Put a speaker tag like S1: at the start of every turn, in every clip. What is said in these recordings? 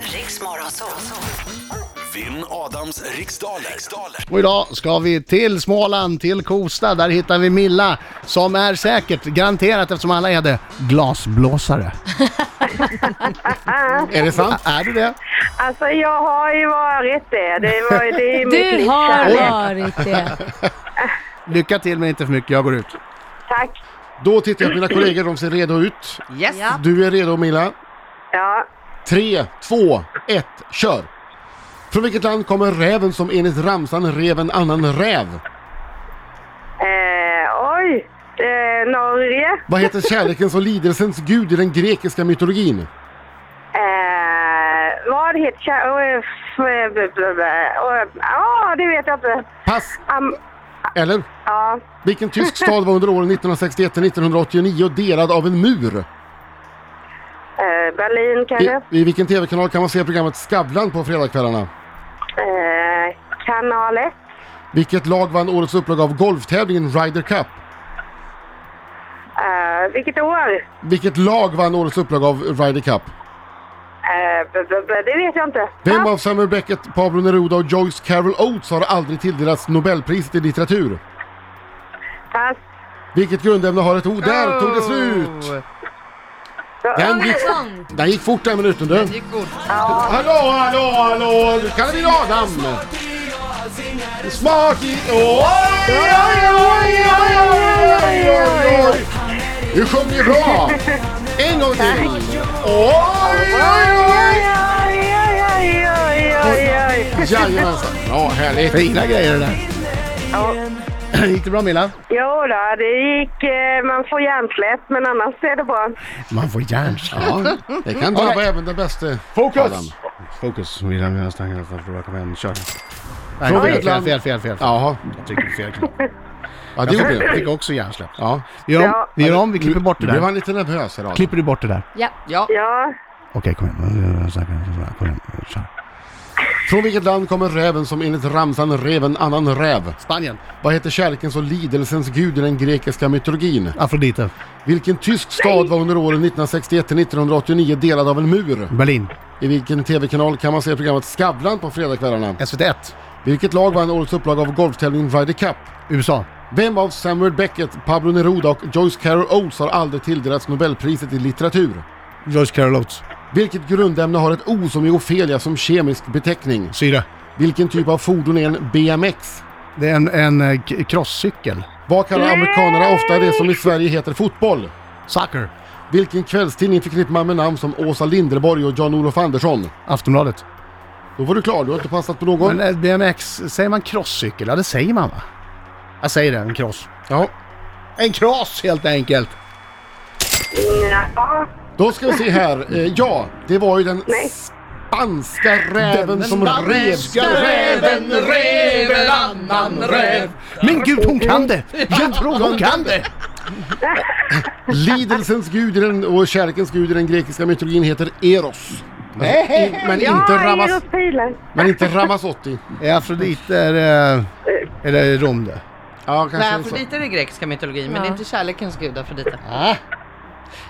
S1: Riks Morgonzoo.
S2: Vinn Adams riksdaler. riksdaler.
S3: Och idag ska vi till Småland, till Kosta. Där hittar vi Milla som är säkert, garanterat eftersom alla är det, glasblåsare. är det sant? Är du det?
S4: Alltså jag har ju varit det. Det, var, ju- det är ju mitt
S5: Du
S4: livs
S5: har
S4: kärlek.
S5: varit det.
S3: Lycka till men inte för mycket, jag går ut.
S4: Tack.
S6: Då tittar jag på mina kollegor, de ser redo ut.
S7: Yes.
S6: Du är redo Milla.
S4: Ja.
S6: Tre, två, ett, kör! Från vilket land kommer räven som enligt ramsan rev en annan räv?
S4: Eh, oj. Eh, Norge.
S6: Vad heter kärlekens och lidelsens gud i den grekiska mytologin?
S4: Eh, vad heter kär... oj, f- eh, b- b- b- oj, Ja, det vet jag inte.
S6: Pass,
S4: Am,
S6: eller?
S4: ja.
S6: Vilken tysk stad var under åren 1961-1989 delad av en mur?
S4: Eh, Berlin
S6: I,
S4: kanske.
S6: I vilken tv-kanal kan man se programmet Skavlan på fredagskvällarna?
S4: Eh, kanal 1.
S6: Vilket lag vann årets upplaga av golftävlingen Ryder Cup?
S4: Eh, vilket år?
S6: Vilket lag vann årets upplaga av Ryder Cup?
S4: Eh, b- b- b- det vet jag inte.
S6: Vem av Samuel Beckett, Pablo Neruda och Joyce Carol Oates har aldrig tilldelats Nobelpriset i litteratur?
S4: Pass.
S6: Vilket grundämne har ett ord? Där tog det
S7: Oh.
S6: slut! Den gick, den gick fort den minuten du.
S7: Det gick fort.
S6: Hallå, hallå, hallå! Nu kallar vi Adam! Smart i... Oj, oj, oj, oj, oj, oj, oj, oj! Du sjöng ju bra! En gång till! Oj, oj, oj!
S4: Oj, oj, oj, oj, oj, oj.
S6: Jajamensan! Ja, härligt!
S3: Fina grejer det där. Gick det bra Milla?
S4: Jo då, det gick... Eh, man får hjärnsläpp, men annars är det bra.
S3: Man får hjärnsläpp.
S6: Ja, det kan drabba även den bästa Adam.
S3: Fokus! Milla, mina stangar för att råka med en. Kör!
S6: Från
S3: Nej, fel,
S6: vilket
S3: fel,
S6: land?
S3: fel, fel, fel.
S6: Jaha,
S3: Jag tryckte fel knapp.
S6: ja, det
S3: Jag
S6: gjorde
S3: fick-
S6: det.
S3: fick också hjärnsläpp.
S6: Ja.
S3: Vi gör om,
S4: Ja.
S3: vi, gör om, vi klipper bort det
S6: Nu blev
S3: där.
S6: han lite nervös här Adam.
S3: Klipper du bort det där?
S5: Ja.
S7: Ja.
S4: Ja.
S3: Okej, kom igen. Kom igen. Kör.
S6: Från vilket land kommer räven som enligt ramsan rev en annan räv?
S3: Spanien.
S6: Vad heter kärlekens och lidelsens gud i den grekiska mytologin?
S3: Afrodite.
S6: Vilken tysk stad var under åren 1961-1989 delad av en mur?
S3: Berlin.
S6: I vilken tv-kanal kan man se programmet Skavlan på fredagskvällarna?
S3: SVT1.
S6: Vilket lag vann årets upplaga av golftävlingen Ryder Cup?
S3: USA.
S6: Vem av Samuel Beckett, Pablo Neruda och Joyce Carol Oates har aldrig tilldelats Nobelpriset i litteratur?
S3: Joyce Carol Oates.
S6: Vilket grundämne har ett O som i Ofelia som kemisk beteckning?
S3: Syre.
S6: Vilken typ av fordon är en BMX?
S3: Det är en, en eh, k- crosscykel.
S6: Vad kallar amerikanerna ofta det som i Sverige heter fotboll?
S3: Soccer.
S6: Vilken kvällstidning förknippar man med namn som Åsa Linderborg och Jan-Olof Andersson?
S3: Aftonbladet.
S6: Då var du klar, du har inte passat på någon.
S3: Men eh, BMX, säger man crosscykel? Ja, det säger man va? Jag säger det, en cross.
S6: Ja.
S3: En cross helt enkelt!
S4: Ja.
S6: Då ska vi se här. Eh, ja, det var ju den
S4: Nej.
S6: spanska räven som rev.
S3: räven rev en annan räv. Men gud, hon kan det! Jag tror hon kan det!
S6: Lidelsens gud i den, och kärlekens gud i den grekiska mytologin heter Eros. Men, i, men,
S4: Ja,
S6: inte Ramas,
S4: Europilen.
S6: men inte Ramazotti.
S3: Är Afrodite, är det... Är det Rom det?
S6: Ja, kanske
S7: Nej,
S6: inte så.
S7: Afrodite är det grekiska mytologin, men det är inte kärlekens gud Afrodite.
S6: Ah.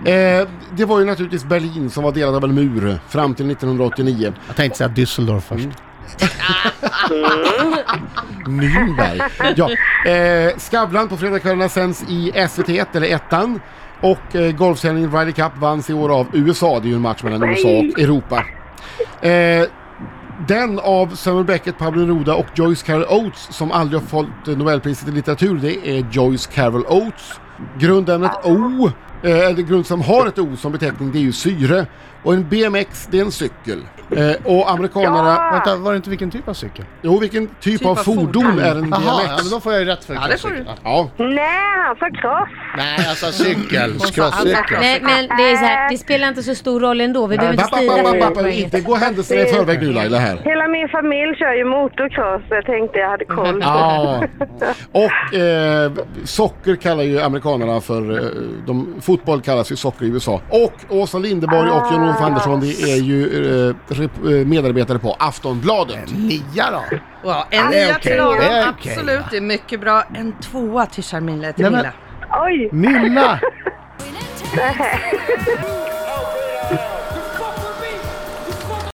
S6: Eh, det var ju naturligtvis Berlin som var delad av en mur fram till 1989.
S3: Jag tänkte säga Düsseldorf först.
S6: Nürnberg. Ja. Eh, Skavlan på fredagskvällarna sänds i SVT1 eller ettan. Och eh, golftävlingen Ryder Cup vanns i år av USA. Det är ju en match mellan USA och Europa. Eh, den av Samuel Beckett, Pablo Neruda och Joyce Carol Oates som aldrig har fått eh, Nobelpriset i litteratur, det är Joyce Carol Oates. Grundämnet O, eh, eller grund som har ett O som beteckning, det är ju syre. Och en BMX, det är en cykel. Eh, och amerikanerna...
S4: Ja.
S3: Vänta, var det inte vilken typ av cykel?
S6: Jo, vilken typ,
S7: Typ
S6: av
S7: av
S6: fordon,
S7: fordon.
S6: är en BMX?
S3: Jaha, ja, men då får jag ju rätt för
S7: Ja, det får du.
S3: crosscykel.
S6: Ja,
S4: Nej, han sa kross.
S3: Nej, alltså cykel.
S7: crosscykel.
S3: Crosscykel.
S5: Nej men det är så här, det spelar inte så stor roll ändå. Vi behöver inte
S6: Bapp, bapp,
S5: strida
S6: bapp,
S5: för
S6: bapp,
S5: det
S6: Inte
S5: poängen.
S6: gå händelserna i förväg nu Laila här.
S4: Hela min familj kör ju motocross. Jag tänkte jag hade koll.
S6: Ja. Och eh, socker kallar ju amerikanerna för, eh, de, fotboll kallas ju socker i USA. Och Åsa Linderborg och Jan-Olof
S5: Ah.
S6: Andersson det är ju eh, rep- eh, medarbetare på Aftonbladet.
S3: Nia då?
S7: Wow, en
S3: det är
S7: nia
S3: okej.
S7: till
S3: Det är
S7: Adam,
S3: okej,
S7: absolut.
S3: va?
S7: Det är mycket bra. En tvåa till Charmilla, till
S3: Nej, men-
S7: Milla.
S4: Oj!
S3: Milla!